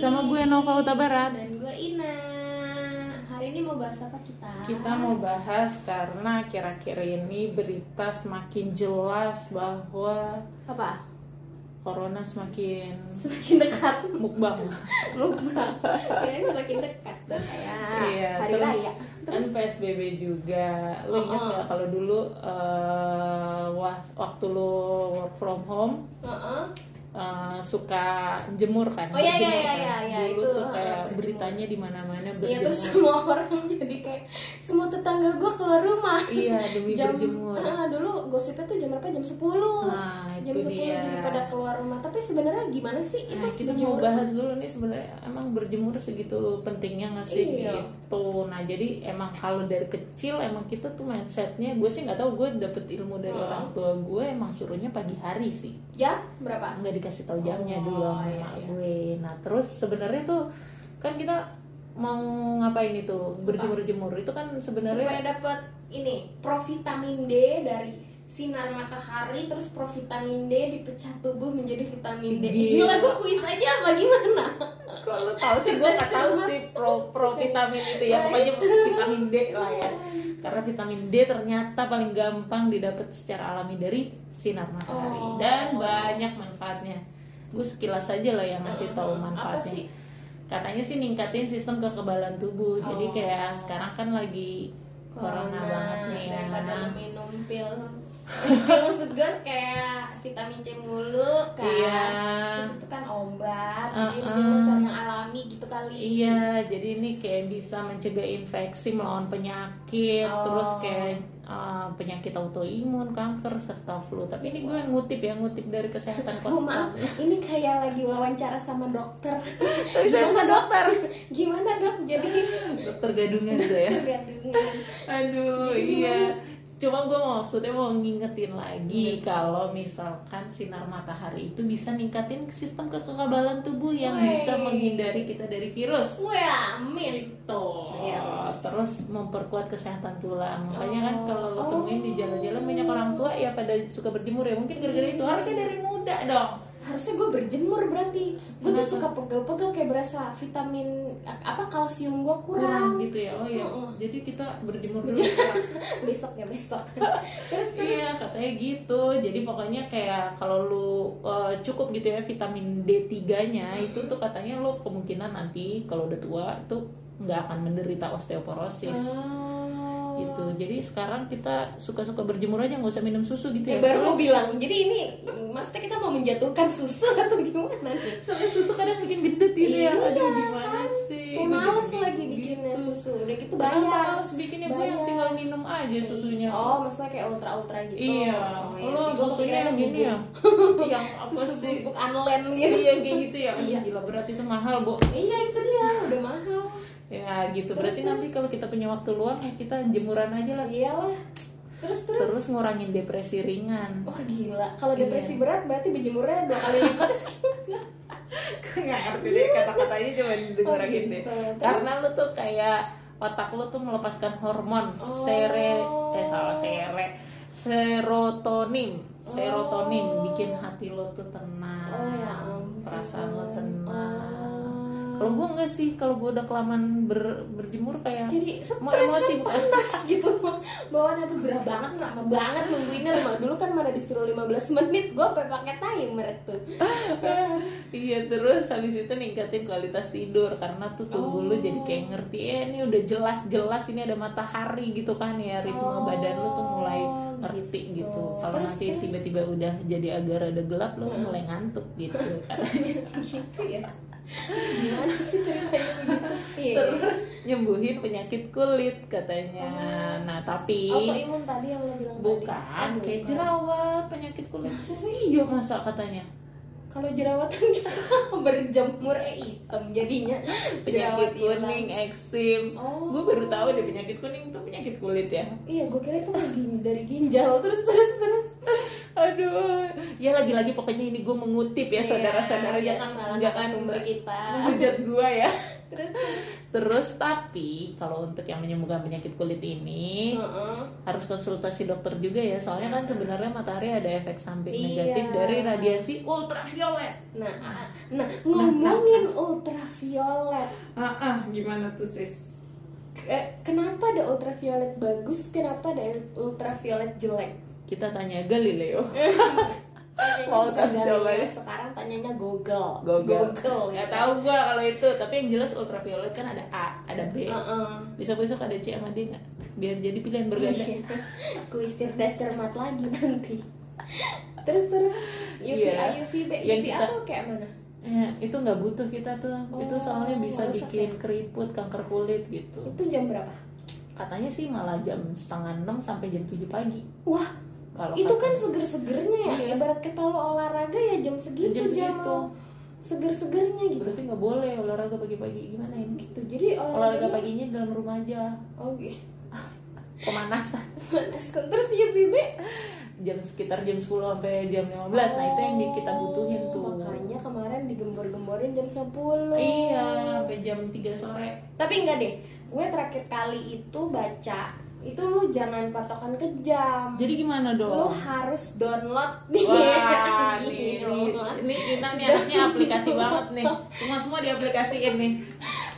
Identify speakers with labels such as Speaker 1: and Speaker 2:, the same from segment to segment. Speaker 1: Renova Huta Barat.
Speaker 2: Dan gue Ina. Hari ini mau bahas apa kita?
Speaker 1: Kita mau bahas karena kira-kira ini berita semakin jelas bahwa
Speaker 2: apa?
Speaker 1: corona semakin
Speaker 2: Semakin dekat
Speaker 1: mukbang.
Speaker 2: mukbang. Kirain semakin dekat tuh kayak
Speaker 1: Iya,
Speaker 2: Ah, hari
Speaker 1: terus-
Speaker 2: raya.
Speaker 1: Kan PSBB juga. Lo ingat
Speaker 2: Oh, oh.
Speaker 1: nggak kalau dulu eh, wah- waktu lo work from home
Speaker 2: Heeh.
Speaker 1: eh, suka jemur kan?
Speaker 2: Oh, iya, iya,
Speaker 1: berjemur
Speaker 2: iya,
Speaker 1: kan?
Speaker 2: iya, iya,
Speaker 1: Dulu
Speaker 2: itu,
Speaker 1: tuh
Speaker 2: eh,
Speaker 1: kayak
Speaker 2: berjemur.
Speaker 1: beritanya di mana-mana
Speaker 2: Iya terus
Speaker 1: berjemur.
Speaker 2: semua orang jadi kayak semua tetangga gue keluar rumah.
Speaker 1: Iya demi
Speaker 2: jam
Speaker 1: berjemur.
Speaker 2: Ah, dulu gosipnya tuh jam berapa? Jam 10.
Speaker 1: Nah,
Speaker 2: jam
Speaker 1: itu
Speaker 2: 10
Speaker 1: dia.
Speaker 2: jadi pada keluar rumah. Tapi sebenarnya gimana sih itu?
Speaker 1: Nah, kita mau
Speaker 2: berjemur?
Speaker 1: bahas dulu nih sebenarnya emang berjemur segitu pentingnya nggak sih
Speaker 2: Iya.
Speaker 1: gitu. Nah jadi emang kalau dari kecil emang kita tuh mindsetnya gue sih nggak tahu gue dapet ilmu dari
Speaker 2: Hmm.
Speaker 1: orang tua gue emang suruhnya pagi hari sih
Speaker 2: Jam berapa?
Speaker 1: nggak dikasih tahu jamnya
Speaker 2: Oh,
Speaker 1: dulu sama
Speaker 2: iya,
Speaker 1: emak
Speaker 2: iya.
Speaker 1: gue. Nah terus sebenarnya tuh kan kita mau ngapain itu berjemur-jemur itu kan
Speaker 2: supaya
Speaker 1: sebenarnya
Speaker 2: dapat ini provitamin D dari sinar matahari terus provitamin D dipecah tubuh menjadi vitamin D.
Speaker 1: Gila.
Speaker 2: Gila gue kuis aja apa gimana?
Speaker 1: kalau tahu sih gue nggak tahu
Speaker 2: Cerdas
Speaker 1: sih pro pro vitamin itu ya
Speaker 2: Nah,
Speaker 1: pokoknya vitamin D lah ya karena vitamin D ternyata paling gampang didapat secara alami dari sinar matahari
Speaker 2: Oh.
Speaker 1: dan banyak manfaatnya gue sekilas aja loh yang ngasih tahu
Speaker 2: Mm-mm. Apa
Speaker 1: manfaatnya
Speaker 2: sih?
Speaker 1: katanya sih ningkatin sistem kekebalan tubuh jadi
Speaker 2: Oh.
Speaker 1: kayak sekarang kan lagi corona, banget nih ya
Speaker 2: Nah, daripada lu minum pil. Pil maksud gue kayak vitamin C mulu kan.
Speaker 1: Iya.
Speaker 2: Terus itu kan obat. Jadi
Speaker 1: Uh-uh.
Speaker 2: mending lu cari yang alami gitu kali.
Speaker 1: Iya, jadi ini kayak bisa mencegah infeksi melawan penyakit,
Speaker 2: Oh.
Speaker 1: terus kayak uh, penyakit autoimun, kanker serta flu. Tapi ini gue ngutip ya, ngutip dari kesehatan
Speaker 2: Bu maaf, ini kayak lagi wawancara sama dokter.
Speaker 1: Tapi saya bukan dokter.
Speaker 2: Gimana dok? Jadi
Speaker 1: Dokter gadungan gitu ya.
Speaker 2: tergantungan.
Speaker 1: Aduh,
Speaker 2: Jadi
Speaker 1: iya. Cuma gue maksudnya mau ngingetin lagi kalau misalkan sinar matahari itu bisa ningkatin sistem kekebalan tubuh yang
Speaker 2: Wey.
Speaker 1: bisa menghindari kita dari virus.
Speaker 2: Wah, ya, amin.
Speaker 1: Tuh,
Speaker 2: Iya.
Speaker 1: terus memperkuat kesehatan tulang. Makanya kan
Speaker 2: Oh.
Speaker 1: kalau lo temuin di jalan-jalan banyak orang tua ya pada suka berjemur ya. Mungkin gara-gara
Speaker 2: Iya.
Speaker 1: itu harusnya dari muda dong.
Speaker 2: Harusnya gue berjemur berarti. Gue tuh
Speaker 1: Kenapa?
Speaker 2: suka pegel-pegel kayak berasa vitamin apa kalsium gue
Speaker 1: Kurang
Speaker 2: kurang.
Speaker 1: gitu ya. Oh ya.
Speaker 2: Mm-mm.
Speaker 1: Jadi kita berjemur dulu. sekarang.
Speaker 2: besok ya besok. terus terus.
Speaker 1: Iya, katanya gitu. Jadi pokoknya kayak kalau lu uh, cukup gitu ya vitamin D3-nya itu tuh katanya lu kemungkinan nanti kalau udah tua tuh nggak akan menderita osteoporosis.
Speaker 2: Oh.
Speaker 1: gitu jadi sekarang kita suka-suka berjemur aja nggak usah minum susu gitu ya
Speaker 2: Ya, baru mau
Speaker 1: Soalnya-
Speaker 2: bilang. Jadi ini maksudnya kita mau menjatuhkan susu atau gimana nih?
Speaker 1: Soalnya susu kadang bikin gendut ini ya.
Speaker 2: Iya,
Speaker 1: Aduh gimana sih.
Speaker 2: Kayak
Speaker 1: Gua
Speaker 2: males
Speaker 1: jadi
Speaker 2: lagi
Speaker 1: gitu.
Speaker 2: bikinnya susu. Udah gitu
Speaker 1: Kenapa
Speaker 2: bayar.
Speaker 1: males bikinnya gue yang
Speaker 2: Bayar.
Speaker 1: tinggal minum aja susunya.
Speaker 2: Oh, maksudnya kayak ultra-ultra gitu.
Speaker 1: Iya.
Speaker 2: Oh, iya
Speaker 1: Lo
Speaker 2: sih, gua
Speaker 1: susunya
Speaker 2: kepikiran
Speaker 1: yang gini ya. yang apa
Speaker 2: Susu
Speaker 1: sih?
Speaker 2: bubuk unland gitu.
Speaker 1: Iya kayak gitu ya.
Speaker 2: Iya.
Speaker 1: Gila berat itu mahal, Bu.
Speaker 2: Iya itu dia udah mahal.
Speaker 1: Ya gitu.
Speaker 2: Terus,
Speaker 1: Berarti
Speaker 2: terus.
Speaker 1: nanti kalau kita punya waktu luang ya kita jemuran aja lah.
Speaker 2: Iyalah. Terus terus.
Speaker 1: Terus ngurangin depresi ringan.
Speaker 2: Wah gila. Kalau
Speaker 1: Iya.
Speaker 2: depresi berat berarti berjemurnya dua kali lipat.
Speaker 1: Nggak ngerti deh kata-katanya cuma
Speaker 2: dengerin deh.
Speaker 1: Karena lu tuh kayak otak lu tuh melepaskan hormon
Speaker 2: Oh.
Speaker 1: sere eh salah sere serotonin. Serotonin bikin hati lu tuh tenang.
Speaker 2: Oh, ya ampun.
Speaker 1: Perasaan lu tenang.
Speaker 2: Oh.
Speaker 1: Kalau gua enggak sih, kalau gua udah kelamaan ber- berjemur kayak
Speaker 2: Jadi
Speaker 1: mau
Speaker 2: stres
Speaker 1: emosi
Speaker 2: kan
Speaker 1: bukan?
Speaker 2: panas gitu Bawaan aduh gerah banget lama banget nungguinnya lama dulu kan mana disuruh 15 menit gue sampai pakai timer tuh
Speaker 1: iya terus habis itu ningkatin kualitas tidur karena tuh tubuh lu
Speaker 2: Oh.
Speaker 1: jadi kayak ngerti eh ini udah jelas-jelas ini ada matahari gitu kan ya ritme
Speaker 2: Oh,
Speaker 1: badan lu tuh mulai ngerti gitu,
Speaker 2: gitu.
Speaker 1: kalau
Speaker 2: Terus,
Speaker 1: nanti
Speaker 2: terus. Hmm.
Speaker 1: tiba-tiba udah jadi agak rada gelap lu mulai ngantuk gitu katanya
Speaker 2: gitu ya gimana sih ceritanya begitu Iya.
Speaker 1: terus nyembuhin penyakit kulit katanya
Speaker 2: Oh.
Speaker 1: nah tapi
Speaker 2: autoimun tadi yang lo bilang
Speaker 1: bukan
Speaker 2: tadi. Oh,
Speaker 1: kayak
Speaker 2: bukan.
Speaker 1: jerawat penyakit kulit
Speaker 2: Masa
Speaker 1: iya masa katanya
Speaker 2: kalau jerawatan kita berjemur eh hitam jadinya
Speaker 1: penyakit
Speaker 2: hilang.
Speaker 1: kuning eksim
Speaker 2: oh
Speaker 1: gue baru tahu deh penyakit kuning tuh penyakit kulit ya
Speaker 2: iya gue kira itu kayak gin- dari ginjal terus terus terus
Speaker 1: aduh ya lagi-lagi pokoknya ini gue mengutip Iya, ya saudara-saudara
Speaker 2: Iya,
Speaker 1: jangan
Speaker 2: salah
Speaker 1: jangan
Speaker 2: sumber kita
Speaker 1: menghujat gue ya
Speaker 2: terus
Speaker 1: Terus tapi kalau untuk yang menyembuhkan penyakit kulit ini
Speaker 2: Heeh.
Speaker 1: harus konsultasi dokter juga ya. Soalnya kan sebenarnya matahari ada efek samping
Speaker 2: Iya.
Speaker 1: negatif dari radiasi ultraviolet.
Speaker 2: nah ah, nah ngomongin ultraviolet
Speaker 3: Ah, ah, gimana tuh sis?
Speaker 2: Eh, kenapa ada ultraviolet bagus kenapa ada ultraviolet jelek
Speaker 1: Kita tanya Galileo.
Speaker 2: Tanyanya
Speaker 1: Mau
Speaker 2: bukan
Speaker 1: ultraviolet.
Speaker 2: Galileo, sekarang tanyanya Google
Speaker 1: Google.
Speaker 2: Google ya.
Speaker 1: Nggak tahu gua kalau itu, tapi yang jelas ultraviolet kan ada A, ada B.
Speaker 2: Heeh.
Speaker 1: Besok-besok ada C sama D nggak? Biar jadi pilihan berganda.
Speaker 2: Iya. Kuis cerdas cermat lagi nanti. Terus terus UVA
Speaker 1: Iya.
Speaker 2: UVB
Speaker 1: Yang
Speaker 2: UVA
Speaker 1: kita-
Speaker 2: tuh kayak mana?
Speaker 1: Ya, itu nggak butuh kita tuh. itu
Speaker 2: Oh,
Speaker 1: soalnya bisa
Speaker 2: nggak rusak
Speaker 1: bikin keriput, kanker kulit gitu.
Speaker 2: Itu jam berapa?
Speaker 1: Katanya sih malah jam setengah enam sampai jam 7 pagi.
Speaker 2: Wah,
Speaker 1: Kalau
Speaker 2: itu kan
Speaker 1: kata-
Speaker 2: seger-segernya ya.
Speaker 1: Iya.
Speaker 2: Ibarat kata lo olahraga ya jam segitu
Speaker 1: Jam
Speaker 2: jam,
Speaker 1: segitu.
Speaker 2: lo seger-segernya gitu.
Speaker 1: berarti nggak boleh olahraga pagi-pagi gimana ini?
Speaker 2: Gitu. Jadi olahraga
Speaker 1: Olahraga paginya dalam rumah aja.
Speaker 2: Oh, gitu.
Speaker 1: Pemanasan
Speaker 2: Panaskan. Terus iya, UVB
Speaker 1: jam sekitar jam 10 sampai jam 15. Nah, itu yang di- kita butuhin tuh.
Speaker 2: Oh, Makanya kemarin digembor-gemborin jam 10.
Speaker 1: Iya, sampai jam 3 sore.
Speaker 2: Tapi enggak deh, gue terakhir kali itu baca itu lu jangan patokan ke jam.
Speaker 1: Jadi gimana dong?
Speaker 2: lu harus download di
Speaker 1: Wah, nih,
Speaker 2: Gini dong.
Speaker 1: nih, nih Inang nih anaknya aplikasi banget nih. Semua semua diaplikasiin nih.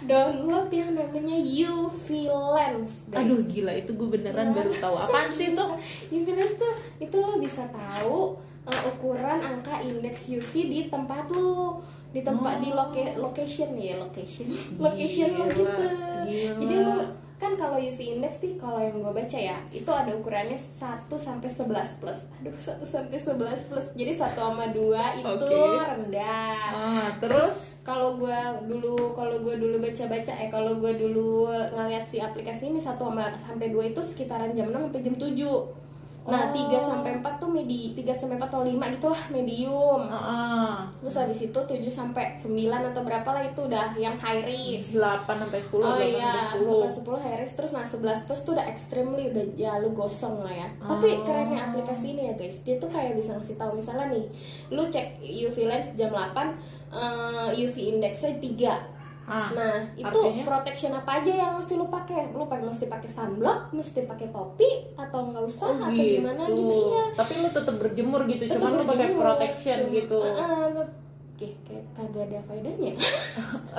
Speaker 2: download yang namanya UV lens guys.
Speaker 1: Aduh gila itu gue beneran baru tahu. Apaan sih tuh?
Speaker 2: UV lens tuh itu lo bisa tahu eh, ukuran angka indeks UV di tempat lu di tempat di loca- location ya location location lo
Speaker 1: Oh. Gila,
Speaker 2: gitu
Speaker 1: gila.
Speaker 2: jadi lo kan kalau UV index sih kalau yang gue baca ya itu ada ukurannya 1 sampai 11 plus aduh 1 sampai 11 plus jadi 1 sama 2 itu
Speaker 1: Oke.
Speaker 2: rendah
Speaker 1: Ah, terus
Speaker 2: kalau gua dulu kalau gua dulu baca baca eh kalau gua dulu ngeliat si aplikasi ini satu sama- sampai dua itu sekitaran jam 6 sampai jam 7 nah
Speaker 1: Oh.
Speaker 2: tiga sampai empat tuh medi tiga sampai empat atau lima gitulah medium
Speaker 1: ah,
Speaker 2: terus habis itu 7 sampai 9 atau berapa lah itu udah yang high risk
Speaker 1: 8 Iya. sampai 10,
Speaker 2: Oh
Speaker 1: 8
Speaker 2: iya,
Speaker 1: sampai 10.
Speaker 2: 10 high risk terus nah 11 plus tuh udah extremely udah ya lu gosong lah ya. Tapi
Speaker 1: Oh.
Speaker 2: kerennya aplikasi ini ya guys, dia tuh kayak bisa ngasih tahu misalnya nih, lu cek UV lens jam 8 eh, UV indexnya 3.
Speaker 1: Ah,
Speaker 2: Nah, itu
Speaker 1: artinya?
Speaker 2: protection apa aja yang mesti lu pakai? Lu pakai mesti pakai sunblock, mesti pakai topi atau nggak usah
Speaker 1: oh
Speaker 2: atau
Speaker 1: gitu.
Speaker 2: gimana gitu iya.
Speaker 1: Tapi lu tetap berjemur gitu,
Speaker 2: Tetep
Speaker 1: cuman lu pakai
Speaker 2: berjemur,
Speaker 1: protection
Speaker 2: cuma-
Speaker 1: gitu.
Speaker 2: Eh, eh, tet- kayak- kayak kagak ada faedahnya.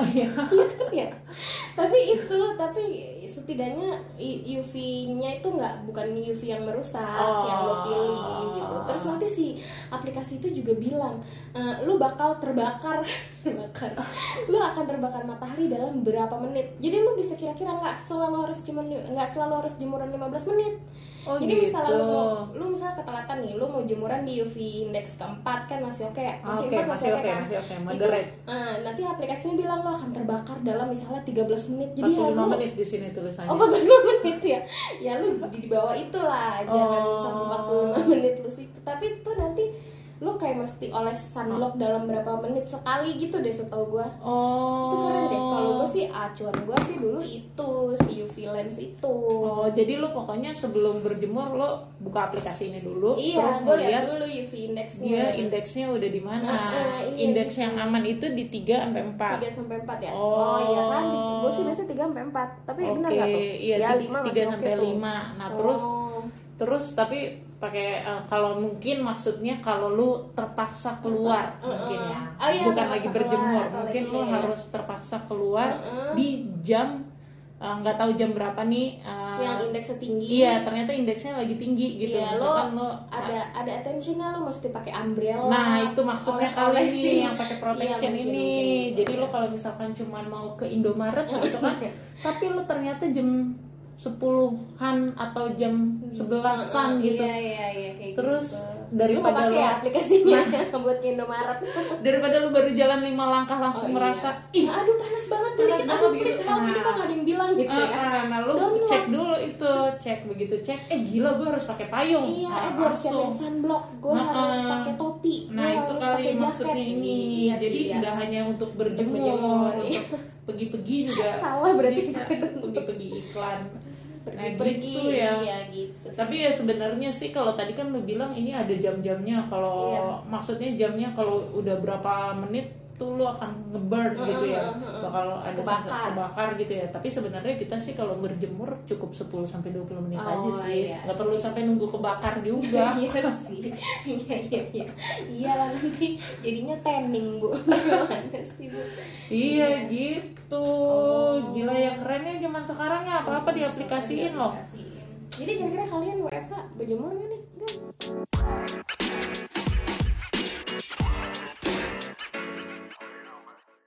Speaker 1: Oh, iya.
Speaker 2: Iya kan ya tapi itu tapi setidaknya UV-nya itu nggak bukan UV yang merusak
Speaker 1: Oh.
Speaker 2: yang lo pilih gitu terus nanti si aplikasi itu juga bilang "Eh, lu bakal terbakar terbakar lu akan terbakar matahari dalam berapa menit jadi lu bisa kira-kira nggak selalu harus cuman nggak selalu harus jemuran 15 menit
Speaker 1: Oh,
Speaker 2: jadi
Speaker 1: gitu.
Speaker 2: misalnya lu mau lu misalnya ketelatan nih lu mau jemuran di UV index keempat kan masih oke ya?
Speaker 1: Ah,
Speaker 2: masih
Speaker 1: Oke,
Speaker 2: empat
Speaker 1: masih oke,
Speaker 2: kan?
Speaker 1: masih oke,
Speaker 2: itu
Speaker 1: moderate.
Speaker 2: eh, nanti aplikasinya bilang lo akan terbakar dalam misalnya 13 menit jadi
Speaker 1: 45
Speaker 2: ya lu
Speaker 1: menit di sini tulisannya.
Speaker 2: oh 45 menit ya ya lu di di bawah itulah jangan
Speaker 1: Oh.
Speaker 2: sampai 45 menit lu sih tapi itu nanti lu kayak mesti oles sunblock dalam berapa menit sekali gitu deh setahu gua
Speaker 1: Oh.
Speaker 2: itu keren deh kalau gua sih acuan gua sih dulu itu si UV lens itu
Speaker 1: Oh, jadi lu pokoknya sebelum berjemur lo buka aplikasi ini dulu,
Speaker 2: iya
Speaker 1: Oh, terus
Speaker 2: gua
Speaker 1: lu lihat
Speaker 2: lihat
Speaker 1: Iya,
Speaker 2: dulu UV indexnya
Speaker 1: dia indeksnya udah di mana.
Speaker 2: Ah, ah, iya,
Speaker 1: Indeks
Speaker 2: gitu.
Speaker 1: yang aman itu di 3 sampai 4.
Speaker 2: 3 sampai 4 ya.
Speaker 1: Oh.
Speaker 2: iya kan. Gue sih biasanya 3 sampai 4. Tapi benar
Speaker 1: Oke,
Speaker 2: enggak tuh?
Speaker 1: Iya,
Speaker 2: ya
Speaker 1: ti-
Speaker 2: 5
Speaker 1: tiga sampai lima. Nah, terus
Speaker 2: Oh.
Speaker 1: terus tapi pakai eh, kalau mungkin maksudnya kalau lu terpaksa keluar
Speaker 2: Terpaksa,
Speaker 1: mungkin
Speaker 2: eh,
Speaker 1: ya.
Speaker 2: eh. Oh, iya,
Speaker 1: Bukan
Speaker 2: terpaksa
Speaker 1: lagi
Speaker 2: keluar
Speaker 1: berjemur,
Speaker 2: atau
Speaker 1: mungkin
Speaker 2: lagi-
Speaker 1: lu
Speaker 2: iya, iya.
Speaker 1: harus terpaksa keluar
Speaker 2: Eh, eh.
Speaker 1: di jam eh, nggak tahu jam berapa nih eh,
Speaker 2: yang indeksnya tinggi.
Speaker 1: Iya, ternyata indeksnya lagi tinggi gitu.
Speaker 2: Iya, lo
Speaker 1: Misalkan lo
Speaker 2: ada ada attentionnya lo mesti pakai umbrella.
Speaker 1: Nah, itu maksudnya kali
Speaker 2: oles-olesin.
Speaker 1: ini yang pakai protection
Speaker 2: Iya, mungkin,
Speaker 1: ini.
Speaker 2: mungkin gitu.
Speaker 1: Jadi lo kalau misalkan cuman mau ke Indomaret gitu kan, tapi lo ternyata jam 10-an atau jam 11-an
Speaker 2: Heeh,
Speaker 1: gitu.
Speaker 2: Iya, iya, iya kayak
Speaker 1: Terus
Speaker 2: gitu.
Speaker 1: daripada Nah.
Speaker 2: lu mau pakai
Speaker 1: lo-
Speaker 2: ya aplikasinya buat ke Indomaret.
Speaker 1: Daripada lo baru jalan 5 langkah langsung
Speaker 2: Oh, iya.
Speaker 1: merasa
Speaker 2: Ih, aduh panas banget nih.
Speaker 1: Panas
Speaker 2: dikit.
Speaker 1: banget
Speaker 2: Aduh,
Speaker 1: gitu.
Speaker 2: please help ini kok
Speaker 1: Nah.
Speaker 2: gak ada yang bilang gitu
Speaker 1: "Ah,
Speaker 2: ya.
Speaker 1: ah." nah lo
Speaker 2: Download.
Speaker 1: cek dulu itu, cek begitu cek, eh gila gue harus pakai payung.
Speaker 2: Iya,
Speaker 1: Nah,
Speaker 2: eh gue harus siapin
Speaker 1: langsung.
Speaker 2: sunblock, gue
Speaker 1: Nah,
Speaker 2: harus
Speaker 1: eh.
Speaker 2: pakai topi,
Speaker 1: Nah
Speaker 2: gue
Speaker 1: itu
Speaker 2: harus
Speaker 1: kali
Speaker 2: pakai jaket.
Speaker 1: maksudnya ini.
Speaker 2: Iya sih,
Speaker 1: Jadi
Speaker 2: iya.
Speaker 1: nggak hanya untuk berjemur,
Speaker 2: berjemur,
Speaker 1: untuk
Speaker 2: iya.
Speaker 1: pergi-pergi juga.
Speaker 2: Salah berarti
Speaker 1: bisa
Speaker 2: bukan.
Speaker 1: pergi-pergi iklan. Nah,
Speaker 2: pergi-pergi,
Speaker 1: gitu ya.
Speaker 2: iya gitu. sih.
Speaker 1: Tapi ya sebenarnya sih kalau tadi kan lu bilang ini ada jam-jamnya. Kalau
Speaker 2: Iya.
Speaker 1: maksudnya jamnya kalau udah berapa menit tuh lu akan ngeburn
Speaker 2: Heeh,
Speaker 1: gitu ya
Speaker 2: heeh, heeh.
Speaker 1: bakal ada sensor
Speaker 2: Kebakar.
Speaker 1: kebakar gitu ya tapi sebenarnya kita sih kalau berjemur cukup 10 sampai 20 menit aja
Speaker 2: Oh,
Speaker 1: sih
Speaker 2: iya
Speaker 1: nggak perlu sampai nunggu kebakar juga
Speaker 2: Iya sih, iya iya iya, iya lah nanti jadinya tanning bu, gimana sih bu?
Speaker 1: Iya gitu.
Speaker 2: Oh. Iya,
Speaker 1: Gila ya kerennya zaman sekarang ya apa-apa diaplikasiin loh.
Speaker 2: Jadi kira-kira kalian WFH berjemur nggak nih? Enggak.